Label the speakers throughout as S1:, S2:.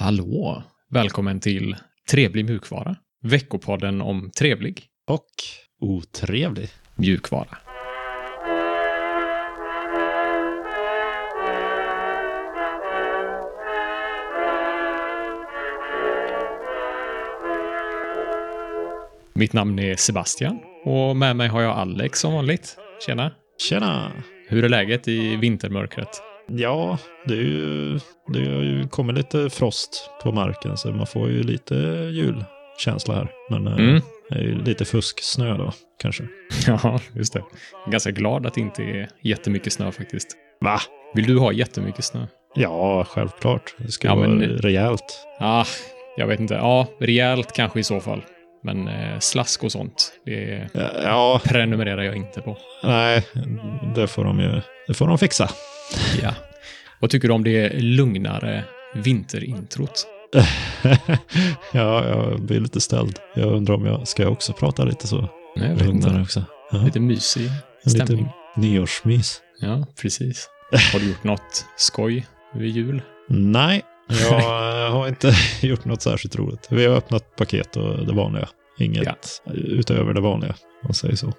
S1: Hallå! Välkommen till Trevlig mjukvara. Veckopodden om trevlig
S2: Och otrevlig.
S1: mjukvara. Mitt namn är Sebastian och med mig har jag Alex som vanligt. Tjena!
S2: Tjena!
S1: Hur är läget i vintermörkret?
S2: Ja, det, är ju, det har ju kommit lite frost på marken så man får ju lite julkänsla här. Men eh,
S1: Mm.
S2: det är ju lite fusksnö då, kanske.
S1: Ja, just det. Jag är ganska glad att det inte är jättemycket snö faktiskt.
S2: Va?
S1: Vill du ha jättemycket snö?
S2: Ja, självklart. Det ska
S1: Ja,
S2: vara
S1: men-
S2: rejält.
S1: Ah, jag vet inte. Ja, rejält kanske i så fall. Men eh, slask och sånt, det
S2: Ja,
S1: prenumererar jag inte på.
S2: nej, det får de ju det får de fixa.
S1: Ja. Vad tycker du om det lugnare vinterintrot?
S2: ja, jag blir lite ställd. Jag undrar om jag ska jag också prata lite så.
S1: Nej, jag vet
S2: Lugnare
S1: inte.
S2: också. Ja,
S1: Lite mysig
S2: en liten
S1: stämning.
S2: nyårsmys.
S1: Ja, precis. Har du gjort något skoj vid jul?
S2: Nej, jag har inte gjort något särskilt roligt. Vi har öppnat paket och det vanliga. Inget utöver det vanliga, om man säger så.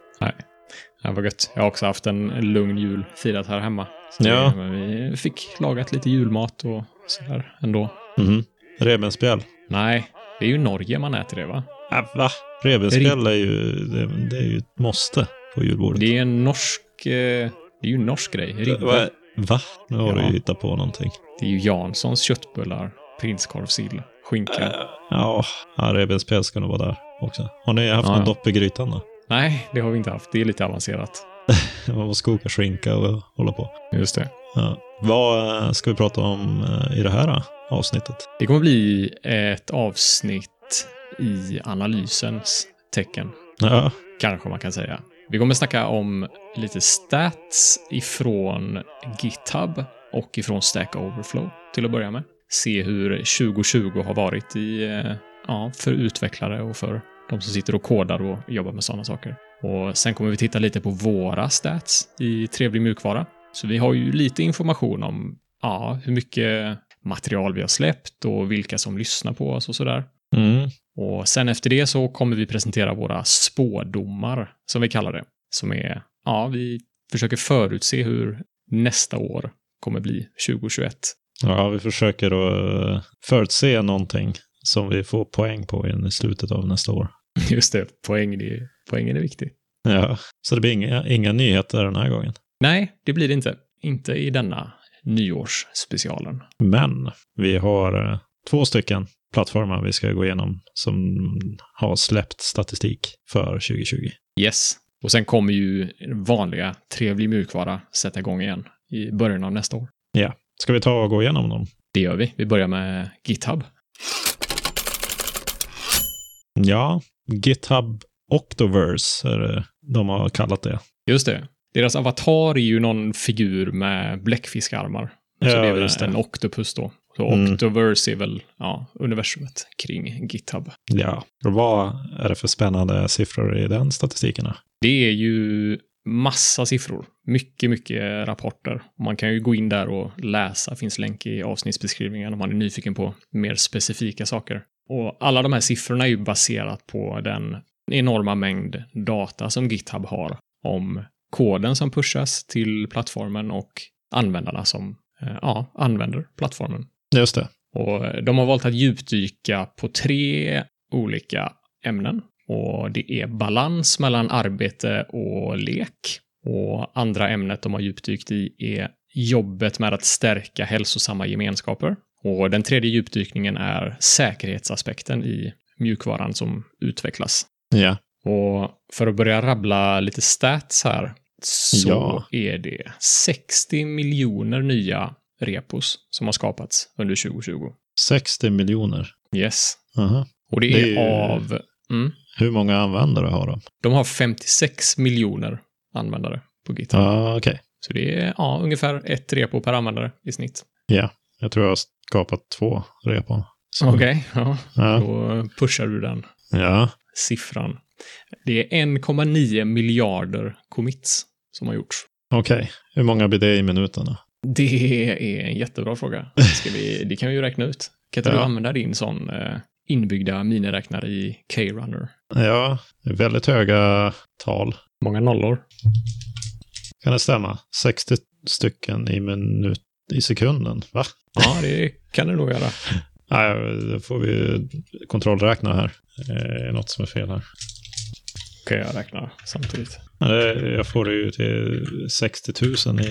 S1: Ja, vad gött. Jag har också haft en lugn jul, firat här hemma. Så
S2: Ja.
S1: det- Vi fick lagat lite julmat och sådär ändå.
S2: Mm. Revbensspjäll.
S1: Nej, det är ju Norge man äter det va?
S2: Äh, va? Revbensspjäll är ju, det, det är ju ett måste på julbordet. Äh,
S1: Det är en norsk... eh, Det är ju en norsk grej. Ribba.
S2: va? va? Nu har
S1: Ja.
S2: du ju hittat på någonting.
S1: Det är ju Janssons köttbullar, prinskorv, sill, skinka.
S2: Äh, ja, ja revbensspjäll ska nog vara där också. Har ni haft
S1: Ja,
S2: någon
S1: ja.
S2: dopp i grytan då?
S1: Nej, det har vi inte haft. Det är lite avancerat.
S2: Man måste koka skinka och hålla på.
S1: Just det.
S2: Ja. Vad eh, ska vi prata om eh, i det här eh, avsnittet?
S1: Det kommer bli ett avsnitt i analysens tecken.
S2: Ja,
S1: Kanske man kan säga. Vi kommer snacka om lite stats ifrån GitHub och ifrån Stack Overflow till att börja med. Se hur 2020 har varit i, eh, ja, för utvecklare och för de som sitter och kodar och jobbar med sådana saker. Och sen kommer vi titta lite på våra stats i trevlig mjukvara. Så vi har ju lite information om ja, hur mycket material vi har släppt och vilka som lyssnar på oss och sådär.
S2: mm.
S1: Och sen efter det så kommer vi presentera våra spådomar, som vi kallar det. Som är, ja, vi försöker förutse hur nästa år kommer bli, 2021.
S2: Ja, vi försöker att eh, förutse någonting som vi får poäng på i slutet av nästa år.
S1: Just det, poäng, det är, poängen är viktig.
S2: Ja, så det blir inga, inga nyheter den här gången.
S1: Nej, det blir det inte. Inte i denna nyårsspecialen.
S2: Men vi har eh, två stycken plattformar vi ska gå igenom som har släppt statistik för 2020.
S1: Yes. Och sen kommer ju vanliga trevlig mjukvara sätta igång igen i början av nästa år.
S2: Ska vi ta och gå igenom dem?
S1: Det gör vi. Vi börjar med GitHub.
S2: Ja, GitHub Octoverse är det de har kallat det.
S1: Just det. Deras avatar är ju någon figur med bläckfiskarmar. Så
S2: Ja,
S1: det är väl
S2: just det.
S1: en octopus då. Så
S2: Mm.
S1: Octoverse är väl ja, universumet kring GitHub.
S2: Ja, och vad är det för spännande siffror i den statistiken? då?
S1: Det är ju massa siffror. Mycket, mycket rapporter. Man kan ju gå in där och läsa. finns länk i avsnittsbeskrivningen om man är nyfiken på mer specifika saker. Och alla de här siffrorna är ju baserat på den enorma mängd data som GitHub har om koden som pushas till plattformen och användarna som eh, ja, använder plattformen.
S2: Just det.
S1: Och de har valt att djupdyka på tre olika ämnen. Och det är balans mellan arbete och lek. Och andra ämnet de har djupdykt i är jobbet med att stärka hälsosamma gemenskaper. Och den tredje djupdykningen är säkerhetsaspekten i mjukvaran som utvecklas.
S2: Ja.
S1: Och för att börja rabbla lite stats här så
S2: Ja.
S1: är det 60 miljoner nya repos som har skapats under 2020.
S2: 60 miljoner.
S1: Yes.
S2: Aha.
S1: Och det är,
S2: Det är ju-
S1: av... Mm,
S2: Hur många användare har de?
S1: de har 56 miljoner användare på GitHub.
S2: Ja, okej.
S1: Så det är ja, ungefär ett repo per användare i snitt.
S2: Jag tror jag har skapat två repon. Så-
S1: Okej, ja,
S2: Ja.
S1: då pushar du den
S2: ja.
S1: siffran. Det är 1,9 miljarder commits som har gjorts.
S2: Okej. Hur många blir det i minuterna?
S1: Det är en jättebra fråga. Ska vi, det kan vi ju räkna ut. Kan inte du
S2: Ja.
S1: använda din sån eh, inbyggda miniräknare i K-Runner?
S2: Ja, det är väldigt höga tal.
S1: Många nollor.
S2: Kan det stämma? 60 stycken i minut i sekunden. Va?
S1: Ja, det kan du nog göra.
S2: Nej, då får vi kontrollräkna här. Det är något som är fel här.
S1: Kan jag räkna samtidigt.
S2: Men det- Jag får det ju till 60 000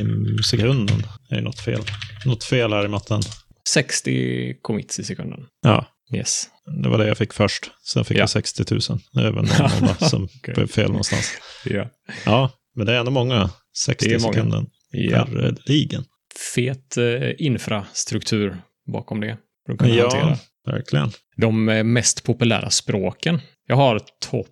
S2: i sekunden. Det är något fel. Något fel här i matten.
S1: 60 commits i sekunden.
S2: Ja,
S1: Yes.
S2: det var det jag fick först. Sen fick
S1: Ja.
S2: jag 60 000. Det är väl någon nolla som
S1: Okej.
S2: blev fel någonstans.
S1: Ja.
S2: Ja, men det är ändå många. 60
S1: Det är
S2: i
S1: många.
S2: sekunden.
S1: ja.
S2: eh, Herreligen.
S1: Fet eh, infrastruktur bakom det. För att kunna hantera.
S2: Ja, verkligen.
S1: De eh, mest populära språken. Jag har topp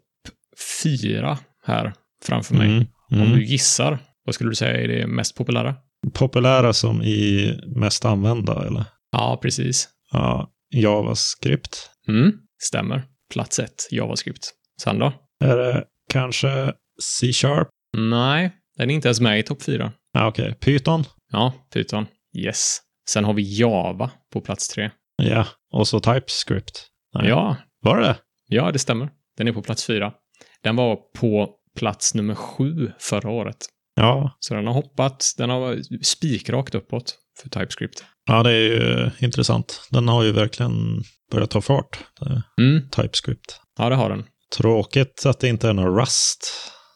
S1: fyra här framför mig.
S2: Mm,
S1: Om
S2: mm.
S1: du gissar, vad skulle du säga är det mest populära?
S2: Populära som i mest använda, eller?
S1: Ja, precis.
S2: Ja, JavaScript.
S1: Mm, stämmer. Plats ett, JavaScript. Sen då?
S2: Är det kanske C-sharp?
S1: Nej, den är inte ens med i topp fyra.
S2: Ja, okej. Python?
S1: Ja, Python. Yes. Sen har vi Java på plats tre.
S2: Ja, och så TypeScript. Nej.
S1: Ja,
S2: Var det det?
S1: ja, det stämmer. Den är på plats fyra. Den var på plats nummer sju förra året.
S2: Ja.
S1: Så den har hoppat, den har spikrakt uppåt för TypeScript.
S2: ja, det är ju eh, intressant. Den har ju verkligen börjat ta fart, eh,
S1: Mm,
S2: TypeScript.
S1: ja, det har den.
S2: Tråkigt att det inte är någon Rust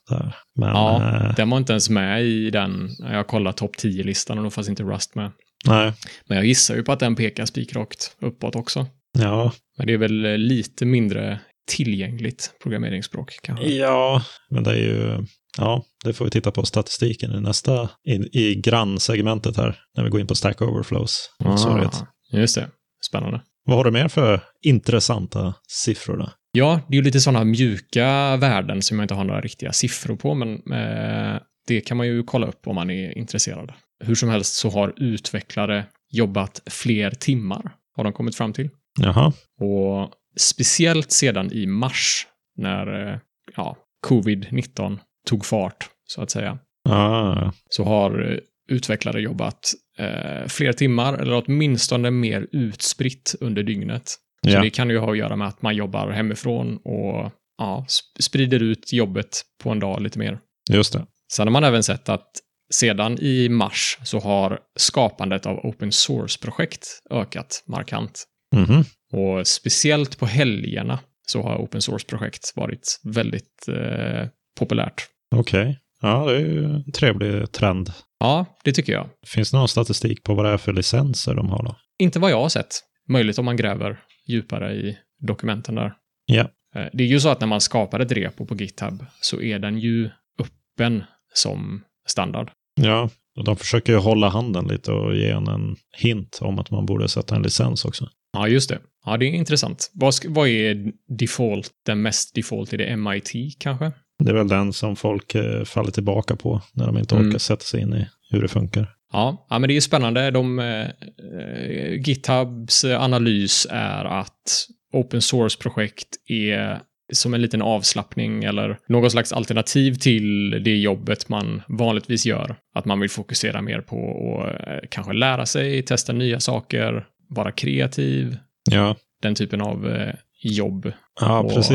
S2: där. Men
S1: Ja.
S2: eh,
S1: Den var inte ens med i den, jag kollade topp 10-listan och då fanns inte Rust med.
S2: nej.
S1: Men jag gissar ju på att den pekar spikrakt uppåt också.
S2: Ja,
S1: Men det är väl eh, lite mindre tillgängligt programmeringsspråk kanske.
S2: Ja, men det är ju... Ja, det får vi titta på statistiken i nästa, i, i grannsegmentet här, när vi går in på Stack Overflows.
S1: Ah.
S2: motsvarighet.
S1: just det. Spännande.
S2: Vad har du mer för intressanta siffror? Då?
S1: Ja, det är ju lite sådana mjuka värden som jag inte har några riktiga siffror på, men eh, det kan man ju kolla upp om man är intresserad. Hur som helst så har utvecklare jobbat fler timmar, har de kommit fram till.
S2: Jaha,
S1: Och speciellt sedan i mars, när eh, ja, covid-19 tog fart, så att säga.
S2: ah,
S1: så har eh, utvecklare jobbat eh, fler timmar eller åtminstone mer utspritt under dygnet. Så
S2: Ja.
S1: det kan ju ha att göra med att man jobbar hemifrån och ja, sp- sprider ut jobbet på en dag lite mer.
S2: just det.
S1: Sen har man även sett att sedan i mars så har skapandet av open source-projekt ökat markant.
S2: Mhm.
S1: Och speciellt på helgerna så har open source-projekt varit väldigt eh, populärt.
S2: Okej. Ja, det är ju en trevlig trend.
S1: Ja, det tycker jag.
S2: Finns det någon statistik på vad det är för licenser de har då?
S1: Inte vad jag har sett. Möjligt om man gräver djupare i dokumenten där.
S2: Ja.
S1: Eh, Det är ju så att när man skapar ett repo på GitHub så är den ju öppen som standard.
S2: Ja, och de försöker ju hålla handen lite och ge en, en hint om att man borde sätta en licens också.
S1: Ja, just det. Ja, det är intressant. Vad, sk- vad är default, den mest default? Är det MIT kanske?
S2: Det är väl den som folk eh, faller tillbaka på när de inte
S1: Mm.
S2: orkar sätta sig in i hur det funkar.
S1: Ja, ja men det är ju spännande. De, eh, eh, GitHubs eh, analys är att open source-projekt är som en liten avslappning eller någon slags alternativ till det jobbet man vanligtvis gör. Att man vill fokusera mer på att eh, kanske lära sig, testa nya saker, vara kreativ,
S2: Ja,
S1: den typen av eh, jobb.
S2: ja
S1: Och,
S2: precis.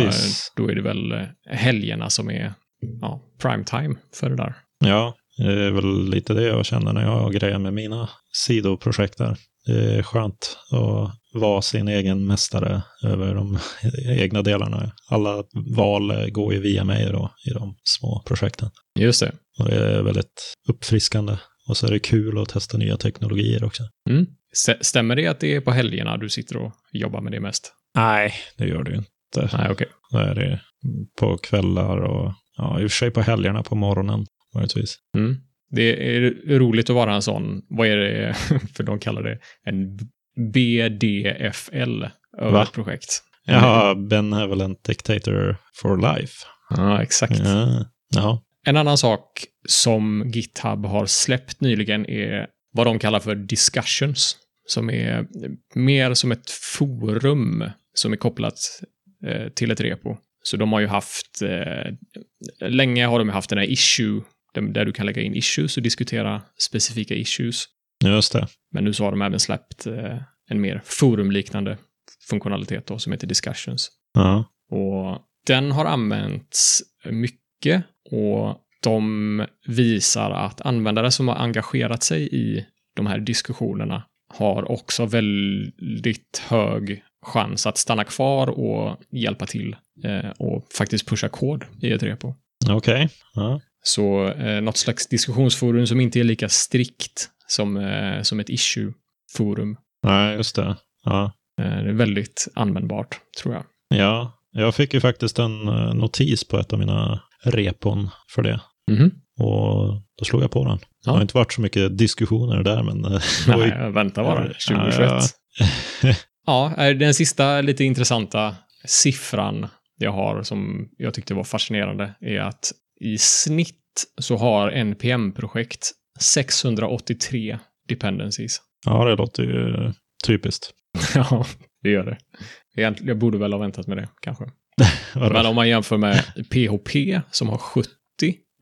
S1: eh, Då är det väl eh, helgerna som är ja, prime time för det där.
S2: Ja, det är väl lite det jag känner när jag grejer med mina sidoprojekt där. Det är skönt att vara sin egen mästare över de egna delarna. Alla val eh, går ju via mig då i de små projekten.
S1: Just det.
S2: Och det är väldigt uppfriskande. Och så är det kul att testa nya teknologier också.
S1: Mm. Stä- Stämmer det att det är på helgerna du sitter och jobbar med det mest?
S2: Nej, det gör det ju inte.
S1: Nej, okej.
S2: Då är det på kvällar och ja, i och för sig på helgerna på morgonen. Möjligtvis.
S1: Mm. Det är roligt att vara en sån, vad är det, för de kallar det en BDFL över
S2: Va?
S1: ett projekt.
S2: Jaha, Benevolent Dictator for Life.
S1: Ja, exakt.
S2: Ja, ja.
S1: En annan sak som GitHub har släppt nyligen är vad de kallar för discussions, som är mer som ett forum som är kopplat eh, till ett repo. Så de har ju haft, eh, länge har de ju haft den här issue, den- där du kan lägga in issues och diskutera specifika issues.
S2: just det.
S1: Men nu så har de även släppt eh, en mer forumliknande funktionalitet då, som heter discussions.
S2: Ja.
S1: Och den har använts mycket och de visar att användare som har engagerat sig i de här diskussionerna har också väldigt hög chans att stanna kvar och hjälpa till eh, och faktiskt pusha kod i E ett repo.
S2: Okej. Ja.
S1: Så eh, något slags diskussionsforum som inte är lika strikt som, eh, som ett issue-forum.
S2: Nej, just det. Ja.
S1: Eh, det är väldigt användbart, tror jag.
S2: ja. Jag fick ju faktiskt en eh, notis på ett av mina repon för det.
S1: Mhm.
S2: Och då slog jag på den. Det har inte varit så mycket diskussioner där, men eh, det var ju
S1: Nej, vänta bara.
S2: Ja,
S1: 2021. Ja,
S2: ja.
S1: eh, den sista lite intressanta siffran jag har som jag tyckte var fascinerande är att i snitt så har NPM-projekt 683 dependencies.
S2: Ja, det låter ju typiskt.
S1: ja, det gör det. Egent- Jag borde väl ha väntat med det, kanske.
S2: Vadå?
S1: Men om man jämför med PHP som har 70,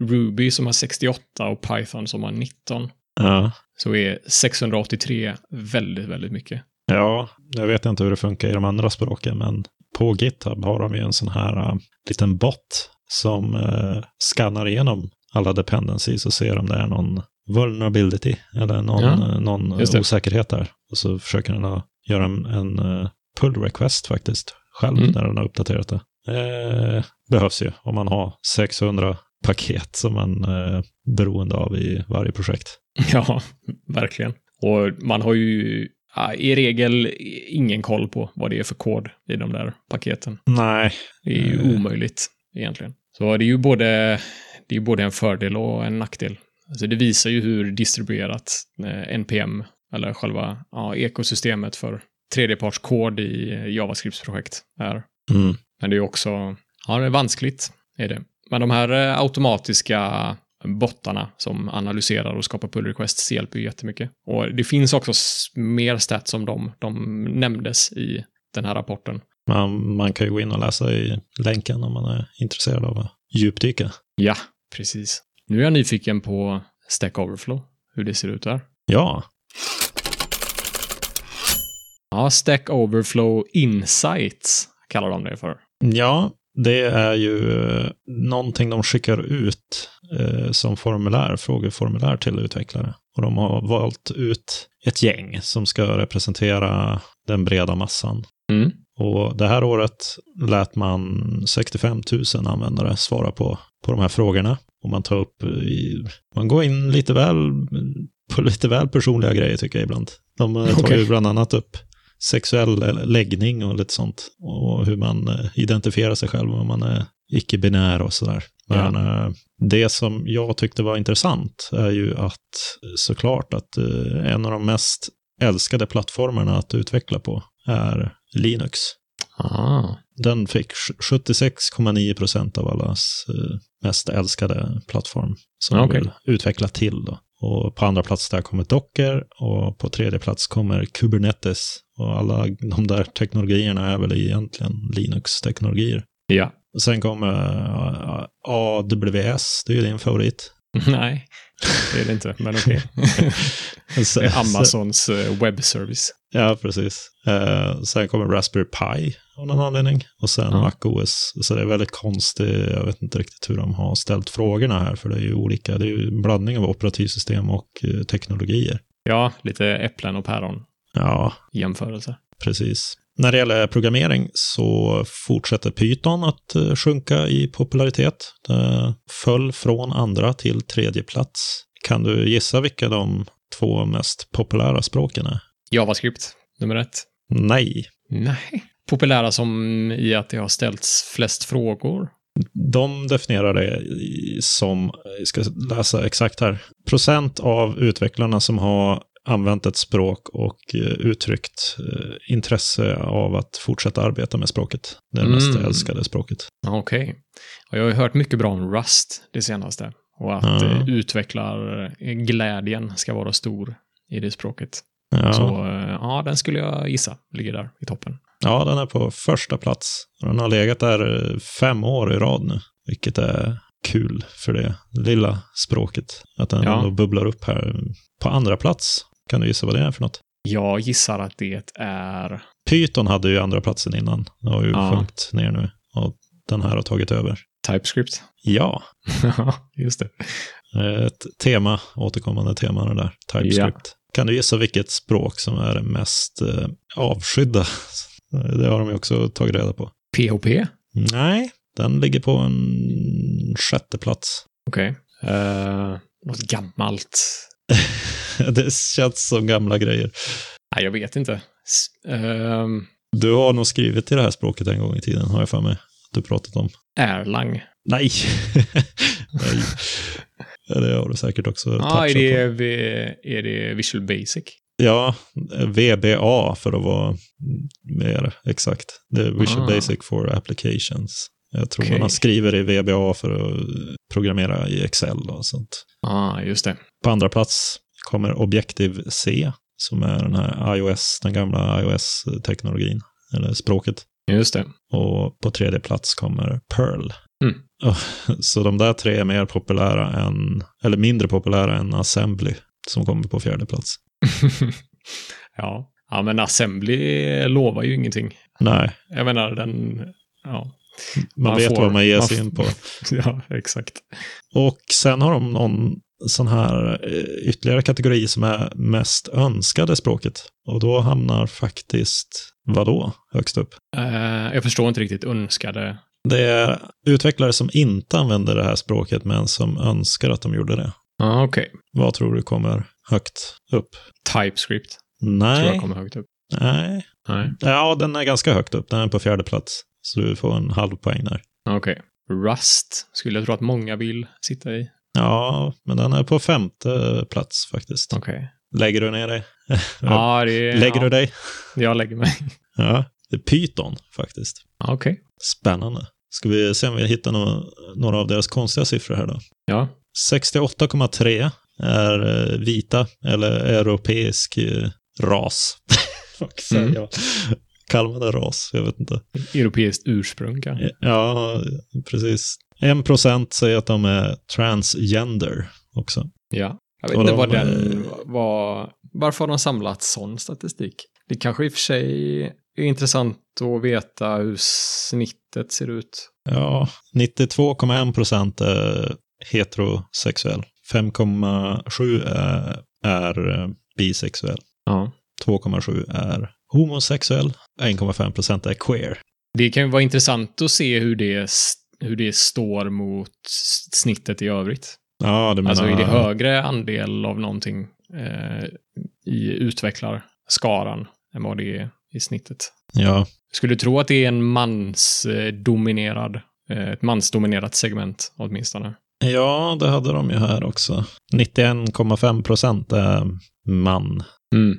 S1: Ruby som har 68 och Python som har 19
S2: Ja.
S1: så är 683 väldigt, väldigt mycket.
S2: ja, jag vet inte hur det funkar i de andra språken, men på GitHub har de ju en sån här eh, liten bot som uh, skannar igenom alla dependencies och ser om det är någon vulnerability eller någon,
S1: Ja,
S2: eh, någon eh,
S1: just det.
S2: osäkerhet där. Och så försöker den ha- göra en, en eh, pull request faktiskt själv
S1: Mm.
S2: när den har uppdaterat det. Eh, behövs ju om man har 600 paket som man äh, är beroende av i varje projekt.
S1: Ja, verkligen. Och man har ju ja, i regel ingen koll på vad det är för kod i de där paketen.
S2: Nej,
S1: Det är ju
S2: Mm.
S1: omöjligt egentligen. Så det är ju både, det är både en fördel och en nackdel. Alltså det visar ju hur distribuerat eh, NPM, eller själva ja, ekosystemet för tredjepartskod i eh, JavaScript-projekt är.
S2: Mm.
S1: Men det är också, ja det är vanskligt är det. Men de här eh, automatiska bottarna som analyserar och skapar pull requests hjälper ju jättemycket. Och det finns också s- mer stats om dem. De nämndes i den här rapporten.
S2: Man, man kan ju gå in och läsa i länken om man är intresserad av att djupdyka.
S1: Ja, precis. Nu är jag nyfiken på Stack Overflow, hur det ser ut där.
S2: Ja,
S1: Ja, Stack Overflow Insights kallar de det för.
S2: ja det är ju eh, någonting de skickar ut eh, som formulär, frågeformulär till utvecklare. Och de har valt ut ett gäng som ska representera den breda massan.
S1: Mm.
S2: Och det här året lät man 65 000 användare svara på, på de här frågorna. Och man tar upp, i, man går in lite väl, på lite väl personliga grejer tycker jag ibland. De eh, tar
S1: Okej.
S2: ju bland annat upp sexuell eh, läggning och lite sånt. Och hur man eh, identifierar sig själv, om man är icke-binär och sådär. Men eh, det som jag tyckte var intressant är ju att eh, såklart att eh, en av de mest älskade plattformarna att utveckla på är Linux.
S1: Ah.
S2: Den fick 76,9 procent av allas eh, mest älskade plattform som
S1: Okej.
S2: de vill utveckla till. Då. Och på andra plats där kommer Docker och på tredje plats kommer Kubernetes. Och alla de där teknologierna är väl egentligen Linux-teknologier.
S1: Ja.
S2: Och sen kommer eh, AWS, det är ju din favorit.
S1: Nej, det är det inte, men okej.
S2: Sen-
S1: Det är Amazons eh, webbservice.
S2: Ja, precis. Eh, sen kommer Raspberry Pi av någon anledning. Och sen
S1: Ja.
S2: MacOS. Så det är väldigt konstigt. Jag vet inte riktigt hur de har ställt frågorna här. För det är ju olika. Det är ju en blandning av operativsystem och eh, teknologier.
S1: Ja, lite äpplen och päron
S2: Ja,
S1: jämförelse.
S2: precis. När det gäller programmering så fortsätter Python att eh, sjunka i popularitet. Det föll från andra till tredje plats. Kan du gissa vilka de två mest populära språken är?
S1: JavaScript, nummer ett.
S2: Nej.
S1: Nej. Populära som i att det har ställts flest frågor.
S2: De definierar det i- som, jag ska läsa exakt här, procent av utvecklarna som har använt ett språk och eh, uttryckt eh, intresse av att fortsätta arbeta med språket. Det mest
S1: Mm.
S2: älskade språket.
S1: Ja, Okej. Och Jag har ju hört mycket bra om Rust det senaste. Och att
S2: Ja.
S1: eh, utvecklarglädjen ska vara stor i det språket.
S2: Ja,
S1: Så eh, ja, den skulle jag gissa ligger där i toppen.
S2: ja, den är på första plats. Och Den har legat där eh, fem år i rad nu, vilket är kul för det lilla språket. Att den
S1: Ja.
S2: ändå bubblar upp här på andra plats. Kan du gissa vad det är för något?
S1: Jag gissar att det är...
S2: Python hade ju andra platsen innan. Den har ju
S1: Ja.
S2: sjunkit ner nu. Och den här har tagit över.
S1: TypeScript.
S2: Ja, eh,
S1: Ja, just det.
S2: ett tema, återkommande tema det där. TypeScript. Kan du gissa vilket språk som är det mest eh, avskydda? Det har de ju också tagit reda på.
S1: PHP? Okej.
S2: Nej, den ligger på en sjätte plats.
S1: Eh, något gammalt.
S2: Det känns som gamla grejer.
S1: Nej, jag vet inte. S- ehm,
S2: Du har nog skrivit i det här språket en gång i tiden, har jag för mig. att Du pratat om.
S1: Erlang.
S2: Nej! Nej. Ja, Det har du säkert också
S1: Ja, är,
S2: touchat
S1: det,
S2: på.
S1: vi- är det Visual Basic?
S2: Ja, VBA för att vara mer exakt. Det är Visual
S1: Ah.
S2: Basic for Applications. Jag tror
S1: Okej.
S2: man skriver i VBA för att programmera i Excel och sånt.
S1: Ja, just det.
S2: På andra plats kommer Objective-C, som är den här iOS, den gamla iOS-teknologin, eller språket.
S1: Just det.
S2: Och på tredje plats kommer Perl. Ah,
S1: Mm.
S2: Så de där tre är mer populära än, eller mindre populära än Assembly, som kommer på fjärde plats.
S1: ja. ja, men Assembly lovar ju ingenting.
S2: Nej,
S1: Jag menar, den... Ja,
S2: man,
S1: Man
S2: vet
S1: får-
S2: vad man ger
S1: man
S2: sig
S1: f-
S2: in på.
S1: ja exakt.
S2: Och sen har de någon sån här eh, ytterligare kategori som är mest önskade språket. Och då hamnar faktiskt, vadå, högst upp?
S1: Eh, jag förstår inte riktigt önskade.
S2: Det är utvecklare som inte använder det här språket men som önskar att de gjorde det.
S1: Ja, okej.
S2: Vad tror du kommer högt upp?
S1: TypeScript tror jag
S2: Nej,
S1: kommer högt upp.
S2: nej.
S1: Nej,
S2: Ja, den är ganska högt upp. Den är på fjärde plats. Så du får en halv poäng där.
S1: okej. Rust skulle jag tro att många vill sitta i.
S2: Ja, men den är på femte plats faktiskt.
S1: Okej.
S2: Lägger du ner dig?
S1: Ja, det...
S2: Lägger
S1: ja,
S2: du dig?
S1: Jag lägger mig.
S2: Ja, det är Python faktiskt.
S1: Ja, Okej.
S2: Spännande. Ska vi se om vi hittar no- några av deras konstiga siffror här då.
S1: Ja.
S2: 68,3 är eh, vita eller europeisk eh, ras. Vad säger
S1: Mm.
S2: jag? Kallar man det ras? Jag vet inte.
S1: Europeiskt ursprung kanske.
S2: Ja, precis. 1% säger att de är transgender också.
S1: Ja. Jag vet
S2: Och
S1: inte
S2: de,
S1: vad den
S2: eh,
S1: var. Varför har de samlat sån statistik? Det kanske i och för sig är intressant att veta hur snittet ser ut.
S2: Ja, 92,1% är heterosexuell. 5,7 är, är eh, bisexuell.
S1: Ja.
S2: 2,7 är homosexuell. 1,5% är queer.
S1: Det kan ju vara intressant att se hur det, hur det står mot s- snittet i övrigt.
S2: Ja, du menar...
S1: Alltså är det högre andel av någonting eh, i utvecklarskaran än vad det är i snittet?
S2: Ja,
S1: Skulle du tro att det är en mansdominerad, eh, ett mansdominerat segment åtminstone?
S2: ja, det hade de ju här också. 91,5% är man.
S1: Mm.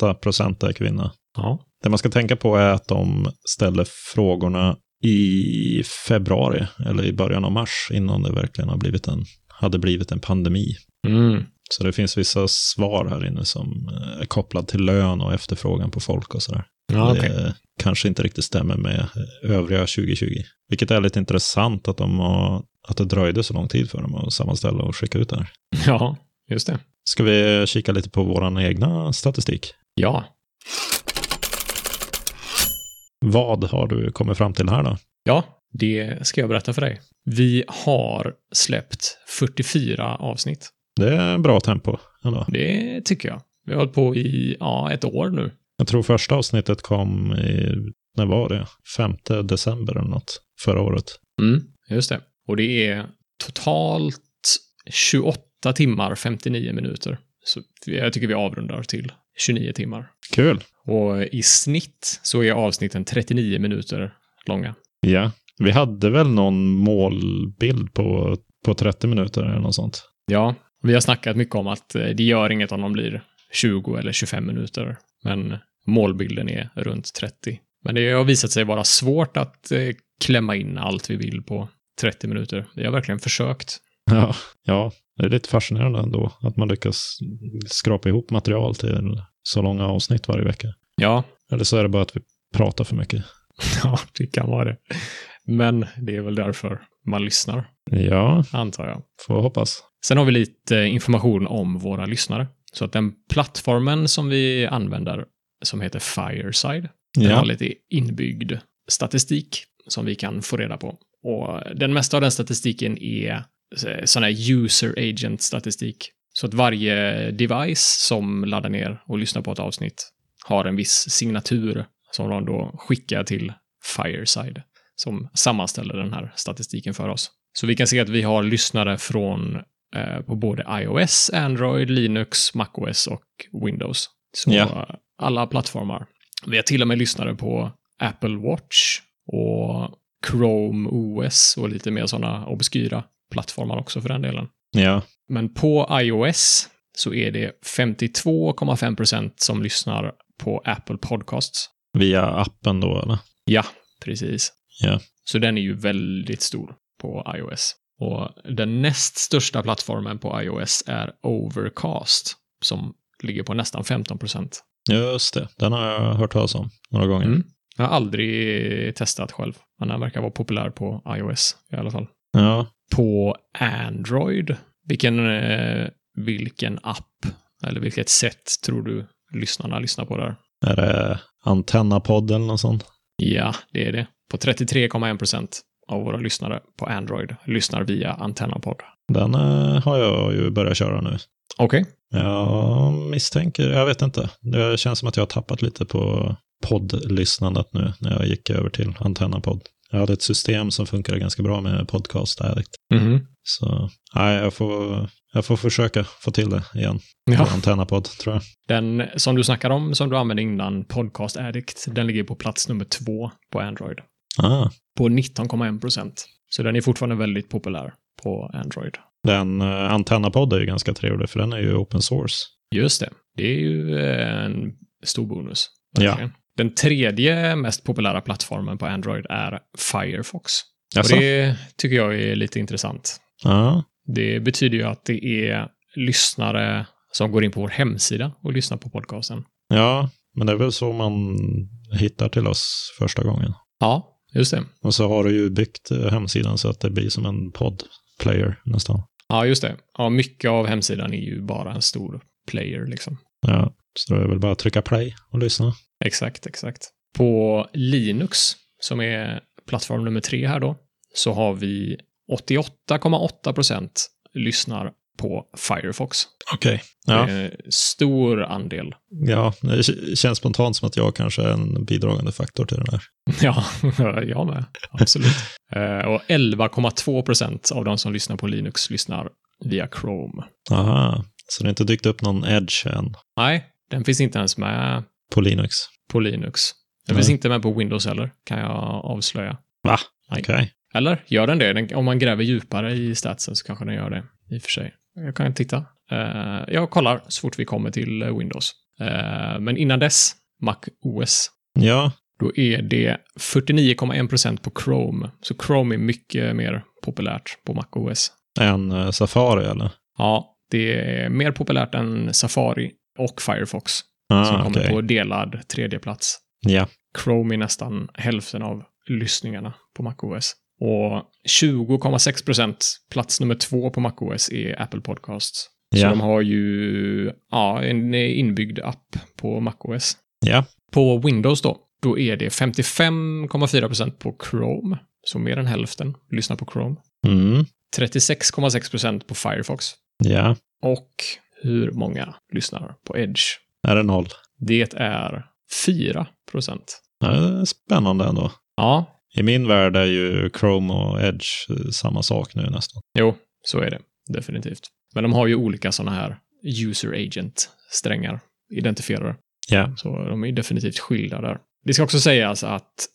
S2: 8% är kvinna.
S1: Ja.
S2: Det man ska tänka på är att de ställer frågorna i februari eller i början av mars innan det verkligen har blivit en, hade blivit en pandemi.
S1: Mm.
S2: Så det finns vissa svar här inne som eh, är kopplad till lön och efterfrågan på folk och sådär.
S1: Ja, okej.
S2: Det Eh, kanske inte riktigt stämmer med övriga 2020. Vilket är lite intressant att, de har, att det dröjde så lång tid för dem att sammanställa och skicka ut det här.
S1: Ja, just det.
S2: Ska vi kika lite på vår egna statistik?
S1: Ja.
S2: Vad har du kommit fram till här då?
S1: Ja, det ska jag berätta för dig. Vi har släppt 44 avsnitt.
S2: Det är en bra tempo ändå.
S1: Det tycker jag. Vi har hållit på i ja, ett år nu.
S2: Jag tror första avsnittet kom i, när var det? 5 december eller något, förra året.
S1: Mm, just det. Och det är totalt 28 timmar 59 minuter. Så jag tycker vi avrundar till 29 timmar.
S2: Kul.
S1: Och i snitt så är avsnitten 39 minuter långa.
S2: Ja. Vi hade väl någon målbild på, på 30 minuter eller något sånt.
S1: Ja, vi har snackat mycket om att eh, det gör inget om de blir 20 eller 25 minuter, men målbilden är runt 30. Men det har visat sig vara svårt att eh, klämma in allt vi vill på 30 minuter. Vi har verkligen försökt.
S2: Ja. ja, det är lite fascinerande ändå att man lyckas skrapa ihop material till så långa avsnitt varje vecka.
S1: Ja,
S2: Eller så är det bara att vi pratar för mycket.
S1: ja det kan vara det. Men det är väl därför man lyssnar,
S2: Ja,
S1: antar jag.
S2: får hoppas.
S1: Sen har vi lite information om våra lyssnare. Så att den plattformen som vi använder, som heter Fireside, den har
S2: Ja,
S1: lite inbyggd statistik som vi kan få reda på. Och den mesta av den statistiken är eh, sån här user agent statistik. Så att varje device som laddar ner och lyssnar på ett avsnitt har en viss signatur som de då skickar till Fireside som sammanställer den här statistiken för oss. Så vi kan se att vi har lyssnare från eh, på både iOS, Android, Linux, MacOS och Windows. Så
S2: Ja.
S1: eh, alla plattformar. Vi har till och med lyssnare på Apple Watch och Chrome OS och lite mer sådana obskyra plattformar också för den delen.
S2: ja,
S1: Men på iOS så är det 52,5% som lyssnar på Apple Podcasts.
S2: via appen då eller?
S1: Ja, precis.
S2: Ja.
S1: Så den är ju väldigt stor på iOS. Och den näst största plattformen på iOS är Overcast som ligger på nästan 15 procent.
S2: Just det, den har jag hört talas om några gånger.
S1: Mm. Jag har aldrig testat själv, men den verkar vara populär på iOS i alla fall.
S2: Ja,
S1: På Android, vilken, eh, vilken app eller vilket sätt tror du lyssnarna lyssnar på där?
S2: är det Antennapodd eller något sånt?
S1: Ja, det är det. På 33,1 procent av våra lyssnare på Android lyssnar via Antennapod.
S2: Den eh, har jag ju börjat köra nu.
S1: Okej.
S2: Jag misstänker, jag vet inte. Det känns som att jag har tappat lite på poddlyssnandet nu när jag gick över till Antennapodd. Jag hade ett system som funkade ganska bra med Podcast Addict. Så nej, jag får, jag får försöka få till det igen.
S1: Ja.
S2: På Antennapodd tror jag.
S1: Den som du snackar om, som du använde innan, Podcast Addict, den ligger på plats nummer två på Android.
S2: Ah,
S1: På 19,1 procent. Så den är fortfarande väldigt populär på Android.
S2: den eh, Antennapodd är ju ganska trevlig för den är ju open source.
S1: Just det. Det är ju eh, en stor bonus.
S2: Ja.
S1: verkligen. Den tredje mest populära plattformen på Android är Firefox.
S2: Jaså?
S1: Och det tycker jag är lite intressant.
S2: Alltså, Ja,
S1: Det betyder ju att det är lyssnare som går in på vår hemsida och lyssnar på podcasten.
S2: ja, men det är väl så man hittar till oss första gången.
S1: Ja, just det.
S2: Och så har du ju byggt eh, hemsidan så att det blir som en poddplayer nästan.
S1: Ja, just det. Ja, mycket av hemsidan är ju bara en stor player liksom.
S2: Ja, så det är väl bara att trycka play och lyssna.
S1: Exakt, exakt. På Linux, som är plattform nummer tre här då, så har vi 88,8 procent lyssnar på Firefox.
S2: Okej. Ja.
S1: Det är en stor andel.
S2: ja, det k- känns spontant som att jag kanske är en bidragande faktor till den här.
S1: Ja, jag med. Absolut. Eh, Och 11,2 procent av de som lyssnar på Linux lyssnar via Chrome.
S2: Aha, så det har inte dykt upp någon edge än
S1: Nej, den finns inte ens med
S2: på Linux?
S1: på Linux. Den
S2: Nej.
S1: finns inte med på Windows heller, kan jag avslöja.
S2: Va?
S1: Nej.
S2: Okej.
S1: Eller, gör den det? Den, om man gräver djupare i statsen så kanske den gör det, i och för sig. Jag kan titta. Eh, jag kollar så fort vi kommer till eh, Windows. Eh, men innan dess, Mac OS.
S2: Ja,
S1: Då är det 49,1 procent på Chrome. Så Chrome är mycket mer populärt på Mac OS.
S2: en eh, Safari eller?
S1: Ja, det är mer populärt än Safari och Firefox som
S2: Ah,
S1: kommer
S2: okej.
S1: på delad tredje plats.
S2: Ja,
S1: Chrome är nästan hälften av lyssningarna på MacOS. Och 20,6 procent, plats nummer två på MacOS, är Apple Podcasts. Så
S2: Ja.
S1: de har ju ja, en inbyggd app på MacOS.
S2: ja,
S1: På Windows då, då är det 55,4 procent på Chrome, så mer än hälften lyssnar på Chrome.
S2: mm.
S1: 36,6 procent på Firefox.
S2: ja.
S1: Och hur många lyssnar på Edge?
S2: Är det noll?
S1: Det är 4 procent.
S2: Ja, det är spännande ändå.
S1: Ja,
S2: I min värld är ju Chrome och Edge eh, samma sak nu nästan.
S1: jo, så är det. Definitivt. Men de har ju olika sådana här user agent-strängar, identifierare.
S2: Ja.
S1: Så de är definitivt skilda där. Det ska också sägas att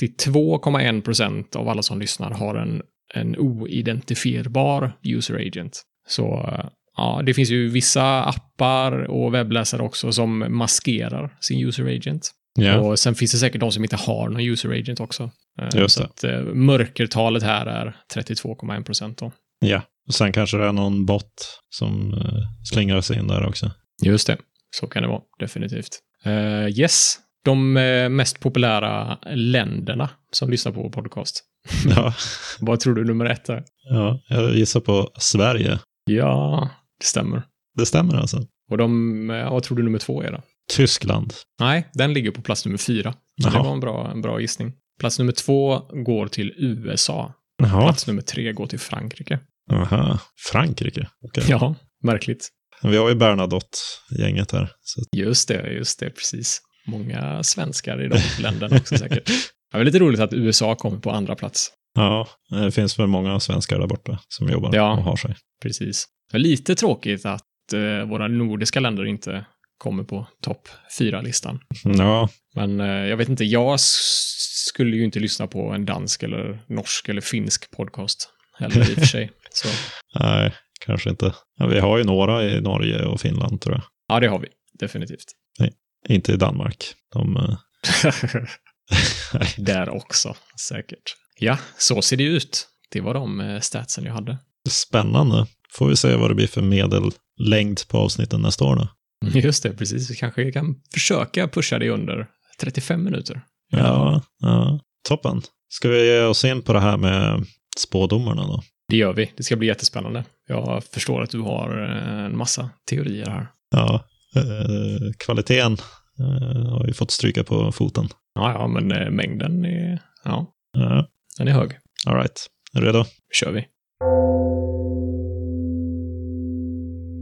S1: 32,1 procent av alla som lyssnar har en, en oidentifierbar user agent. Så eh, ja, det finns ju vissa appar och webbläsare också som maskerar sin user agent.
S2: Ja,
S1: Och sen finns det säkert de som inte har någon user agent också. Eh,
S2: Just
S1: så
S2: det.
S1: att eh, mörkertalet här är 32,1 procent då.
S2: ja. Och sen kanske det är någon bot som eh, slingrar sig in där också.
S1: Just det. Så kan det vara, definitivt. Eh, yes, de eh, mest populära länderna som lyssnar på vår podcast.
S2: Ja,
S1: Vad tror du nummer ett är?
S2: ja jag gissar på Sverige.
S1: Ja, det stämmer.
S2: Det stämmer alltså?
S1: Och de, eh, vad tror du nummer två är då?
S2: Tyskland.
S1: Nej, den ligger på plats nummer fyra. Så
S2: Jaha.
S1: det var en bra, en bra gissning. Plats nummer två går till USA.
S2: Jaha.
S1: Plats nummer tre går till Frankrike.
S2: Aha. Frankrike. Okej.
S1: Ja, märkligt.
S2: Vi har ju Bernadotte-gänget här. Så
S1: Just det, just det, precis. Många svenskar i de länderna också säkert. Det är lite roligt att USA kommer på andra plats.
S2: Ja, det finns väl många svenskar där borta som jobbar
S1: Ja.
S2: och har sig.
S1: Precis. Det är lite tråkigt att eh, våra nordiska länder inte kommer på topp fyra-listan.
S2: Ja,
S1: Men eh, jag vet inte, jag s- skulle ju inte lyssna på en dansk eller norsk eller finsk podcast heller i och för sig. Så,
S2: nej, kanske inte. Ja, vi har ju några i Norge och Finland tror jag.
S1: ja, det har vi. Definitivt.
S2: Inte i Danmark. De, eh, nej.
S1: Där också, säkert. Ja, så ser det ut. Det var de eh, statsen jag hade.
S2: Spännande. Får vi se vad det blir för medellängd på avsnitten nästa år då.
S1: Just det, precis. Vi kanske kan försöka pusha det under 35 minuter.
S2: Ja, ja, toppen. Ska vi ge oss in på det här med spådomarna då?
S1: Det gör vi. Det ska bli jättespännande. Jag förstår att du har eh, en massa teorier här.
S2: Ja, eh, kvaliteten eh, har ju fått stryka på foten.
S1: Ja, ja, men eh, mängden är, ja,
S2: Ja,
S1: den är hög.
S2: all right. Är du redo?
S1: kör vi.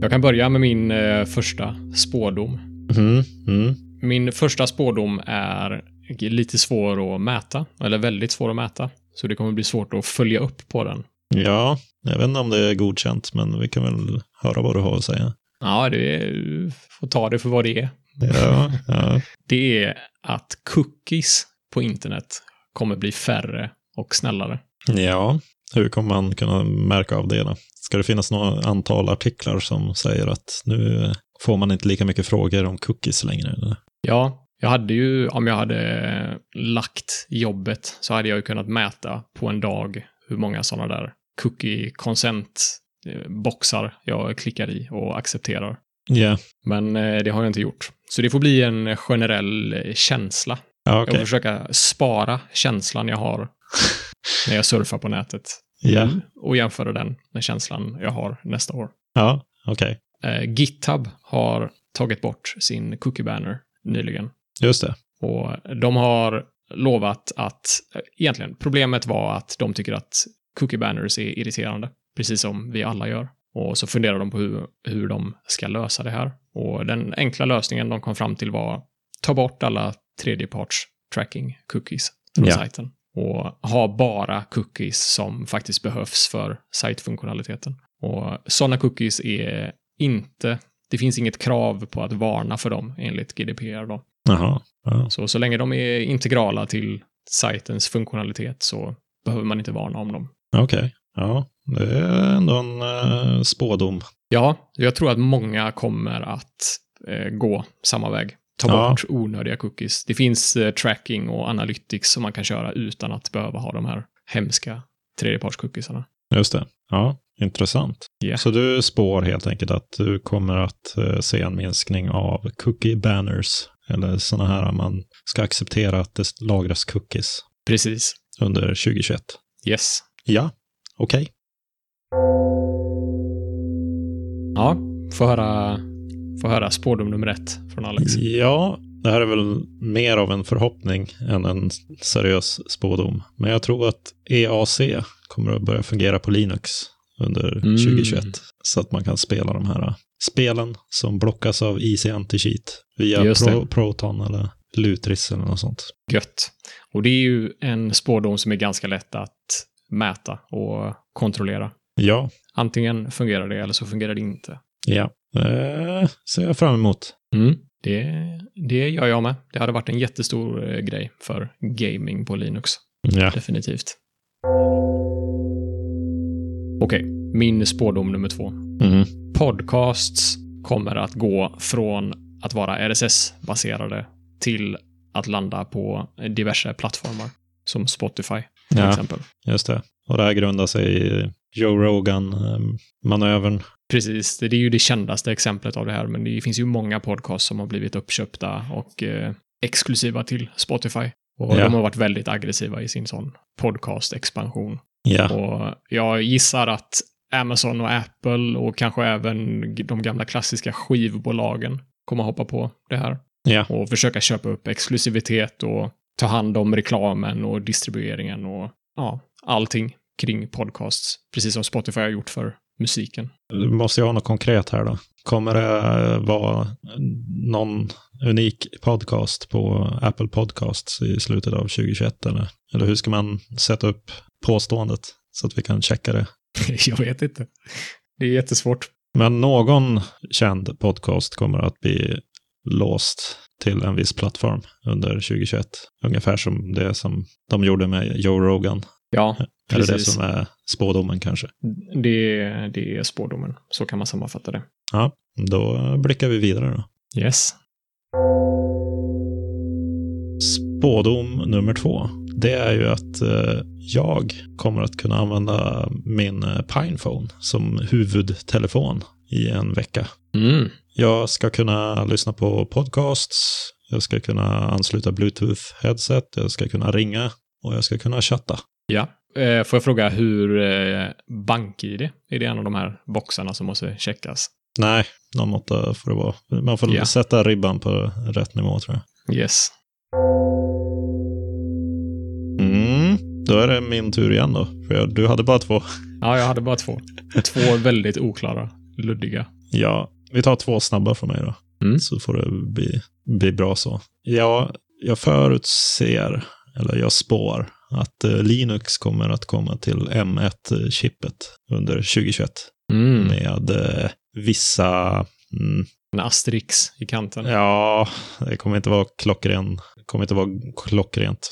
S1: Jag kan börja med min eh, första spådom.
S2: Mm, mm,
S1: Min första spådom är lite svår att mäta, eller väldigt svår att mäta. Så det kommer bli svårt att följa upp på den.
S2: Ja, jag vet inte om det är godkänt, men vi kan väl höra vad du har att säga.
S1: Ja, det är, du får ta det för vad det är.
S2: Ja, ja.
S1: Det är att cookies på internet kommer bli färre och snällare.
S2: ja, hur kommer man kunna märka av det då? Ska det finnas något antal artiklar som säger att nu får man inte lika mycket frågor om cookies längre? Eller?
S1: Ja, jag hade ju, om jag hade eh, lagt jobbet så hade jag ju kunnat mäta på en dag hur många sådana där cookie consent eh, boxar jag klickar i och accepterar.
S2: Ja,
S1: Men eh, det har jag inte gjort. Så det får bli en generell eh, känsla.
S2: ja
S1: Jag
S2: okej.
S1: får försöka spara känslan jag har när jag surfar på nätet
S2: Ja,
S1: nu och jämföra den med känslan jag har nästa år.
S2: ja okej.
S1: Eh, GitHub har tagit bort sin cookie banner nyligen.
S2: Just det.
S1: Och de har lovat att, egentligen, problemet var att de tycker att cookie banners är irriterande, precis som vi alla gör. Och så funderar de på hur, hur de ska lösa det här. Och den enkla lösningen de kom fram till var ta bort alla tredjeparts tracking cookies från
S2: Ja.
S1: sajten och ha bara cookies som faktiskt behövs för sajtfunktionaliteten. Och sådana cookies är inte, det finns inget krav på att varna för dem enligt GDPR då.
S2: Jaha. Ja.
S1: Så, så länge de är integrala till sajtens funktionalitet så behöver man inte varna om dem.
S2: Okej. Ja, det är ändå en eh, spådom.
S1: Ja, jag tror att många kommer att eh, gå samma väg. Ta
S2: Ja.
S1: bort onödiga cookies. Det finns eh, tracking och analytics som man kan köra utan att behöva ha de här hemska tredjepartscookiesarna.
S2: Just det. Ja, intressant.
S1: Ja.
S2: Så du spår helt enkelt att du kommer att eh, se en minskning av cookie banners, eller sådana här man ska acceptera att det lagras cookies
S1: Precis.
S2: under 2021.
S1: Yes.
S2: Ja, okej.
S1: Ja, få höra, få höra spårdom nummer ett från Alex.
S2: Ja, det här är väl mer av en förhoppning än en seriös spådom. Men jag tror att EAC kommer att börja fungera på Linux under
S1: Mm.
S2: 2021. Så att man kan spela de här äh, spelen som blockas av IC Anti-Cheat via
S1: Just det.
S2: Pro- Proton eller Lutris eller något sånt.
S1: Gött. Och det är ju en spårdom som är ganska lätt att mäta och kontrollera.
S2: Ja,
S1: Antingen fungerar det eller så fungerar det inte.
S2: ja. Eh, ser jag fram emot.
S1: Det, det gör jag med. Det hade varit en jättestor eh, grej för gaming på Linux.
S2: Ja.
S1: Definitivt. Okej, min spårdom nummer två.
S2: Mm.
S1: Podcasts kommer att gå från att vara RSS-baserade till att landa på diverse plattformar som Spotify till
S2: Ja.
S1: exempel.
S2: Just det. Och det här grundar sig i Joe ehm, Rogan-manövern.
S1: Precis, det är ju det kändaste exemplet av det här, men det finns ju många podcasts som har blivit uppköpta och eh, exklusiva till Spotify. Och
S2: Ja.
S1: de har varit väldigt aggressiva i sin sån podcast-expansion.
S2: Ja.
S1: Och jag gissar att Amazon och Apple och kanske även de gamla klassiska skivbolagen kommer hoppa på det här.
S2: Ja.
S1: Och försöka köpa upp exklusivitet och ta hand om reklamen och distribueringen och ja, allting kring podcasts. Precis som Spotify har gjort för musiken.
S2: Du måste ju ha något konkret här då. Kommer det vara någon unik podcast på Apple Podcasts i slutet av 2021? Eller, eller hur ska man sätta upp påståendet så att vi kan checka det?
S1: Jag vet inte. Det är jättesvårt.
S2: Men någon känd podcast kommer att bli låst till en viss plattform under 2021. Ungefär som det som de gjorde med Joe Rogan.
S1: Ja,
S2: Eller det
S1: Precis.
S2: som är spådomen kanske.
S1: det, det är spådomen. Så kan man sammanfatta det.
S2: Ja, då blickar vi vidare då.
S1: Yes.
S2: Spådom nummer två, det är ju att eh, jag kommer att kunna använda min eh, Pinephone som huvudtelefon i en vecka.
S1: Mm.
S2: Jag ska kunna lyssna på podcasts, jag ska kunna ansluta bluetooth-headset, jag ska kunna ringa och jag ska kunna chatta.
S1: Ja. Eh, Får jag fråga hur eh, BankID, är det en av de här boxarna som måste checkas?
S2: Nej, någon måtta får det vara. Man får
S1: Ja.
S2: sätta ribban på rätt nivå tror jag.
S1: Yes.
S2: Mm, då är det min tur igen då. För jag, du hade bara två.
S1: Ja, jag hade bara två. Två väldigt oklara, luddiga.
S2: Ja, vi tar två snabba från mig då.
S1: Mm.
S2: Så får det bli, bli bra så. Ja, jag förutser, eller jag spår, att eh, Linux kommer att komma till M1-chippet under 2021
S1: Mm.
S2: med eh, vissa... Mm,
S1: En asterix i kanten.
S2: ja, det kommer inte vara klockren, kommer inte vara klockrent,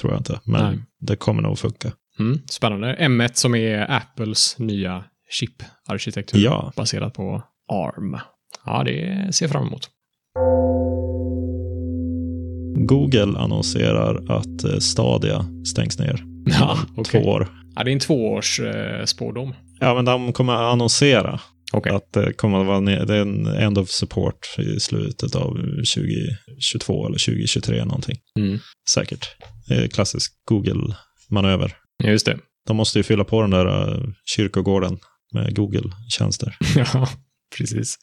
S2: tror jag inte. Men
S1: Nej.
S2: det kommer nog funka.
S1: Mm. Spännande. M1 som är Apples nya chip-arkitektur
S2: Ja,
S1: baserat på ARM. Ja, det ser jag fram emot.
S2: Google annonserar att eh, Stadia stängs ner.
S1: Ja,
S2: om
S1: okej.
S2: Två år.
S1: Ja, det är en tvåårs eh, spådom.
S2: Ja, men de kommer att annonsera
S1: Okej.
S2: att det kommer att vara ne- det är en end of support i slutet av 2022 eller 2023 någonting.
S1: Mm.
S2: Säkert. Det är klassisk Google-manöver.
S1: Just det.
S2: De måste ju fylla på den där eh, kyrkogården med Google-tjänster.
S1: ja, precis.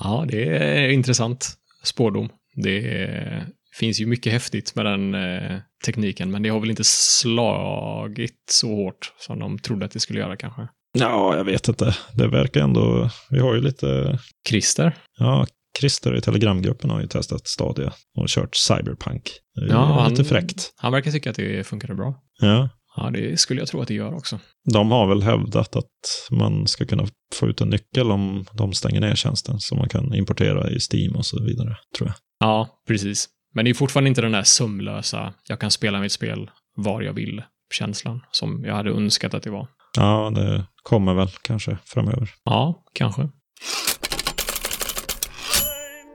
S1: Ja, det är intressant spådom. Det är, finns ju mycket häftigt med den eh, tekniken, men det har väl inte slagit så hårt som de trodde att det skulle göra kanske.
S2: Ja, jag vet inte. Det verkar ändå... Vi har ju lite...
S1: Christer?
S2: Ja, Christer i Telegramgruppen har ju testat Stadia och kört Cyberpunk. Det är ju
S1: Ja, han-
S2: lite fräckt.
S1: Han verkar tycka att det funkade bra.
S2: Ja.
S1: Ja, det skulle jag tro att det gör också.
S2: De har väl hävdat att man ska kunna få ut en nyckel om de stänger ner tjänsten som man kan importera i Steam och så vidare, tror jag.
S1: Ja, precis. Men det är fortfarande inte den där sömlösa, jag kan spela mitt spel var jag vill-känslan som jag hade önskat att det var.
S2: Ja, det kommer väl kanske framöver.
S1: Ja, kanske.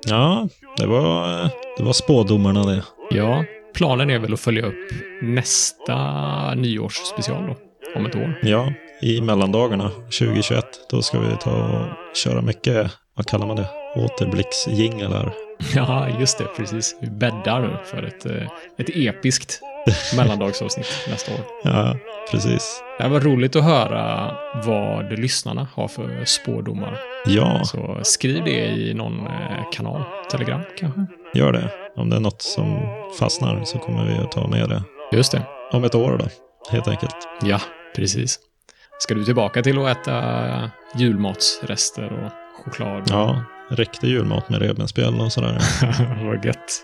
S2: Ja, det var, det var spådomarna det.
S1: Ja, planen är väl att följa upp nästa nyårsspecial då, om ett år.
S2: Ja, i mellandagarna 2021, då ska vi ta och köra mycket, vad kallar man det, återblicksjinglar.
S1: Ja, just det, precis. Vi bäddar för ett, eh, ett episkt mellandagsavsnitt nästa år.
S2: Ja, precis.
S1: Det här var roligt att höra vad lyssnarna har för spådomar.
S2: Ja,
S1: Så skriv det i någon eh, kanal, Telegram kanske.
S2: gör det. Om det är något som fastnar så kommer vi att ta med det
S1: Just det.
S2: om ett år då, helt enkelt.
S1: Ja, precis. Ska du tillbaka till att äta julmatsrester och choklad?
S2: Ja, riktig julmat med revbensspjäll och sådär.
S1: vad gött.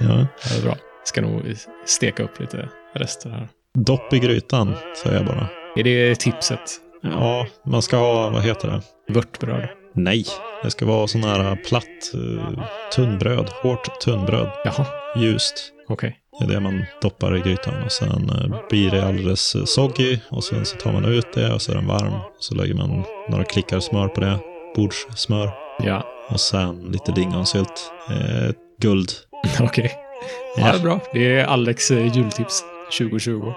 S2: Ja.
S1: Ja, det är bra. Ska nog steka upp lite rester här.
S2: Dopp i grytan, säger jag bara.
S1: Är det tipset?
S2: Ja, man ska ha, vad heter det?
S1: Vörtbröd?
S2: Nej, det ska vara sån här äh, platt eh, tunnbröd, hårt tunnbröd,
S1: Jaha,
S2: ljust.
S1: okej.
S2: Det är det man doppar i grytan och sen eh, blir det alldeles eh, soggy och sen så tar man ut det och så är den varm. Så lägger man några klickar smör på det, bordssmör
S1: Ja,
S2: och sen lite lingonsylt. Eh, guld.
S1: okej. Ja, det är bra. Det är Alex eh, jultips 2020.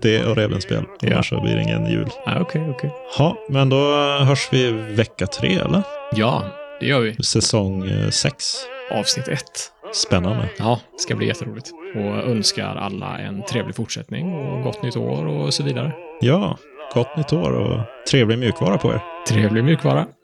S2: Det och revbensspjäl.
S1: Ja.
S2: Annars så blir det ingen jul.
S1: Ja, okej, okej.
S2: Ja, men då hörs vi vecka tre, eller?
S1: Ja, det gör vi.
S2: Säsong eh, sex.
S1: Avsnitt ett.
S2: Spännande.
S1: Ja, det ska bli jätteroligt. Och önskar alla en trevlig fortsättning och gott nytt år och så vidare.
S2: Ja, Gott nytt år och trevlig mjukvara på er.
S1: Trevlig mjukvara.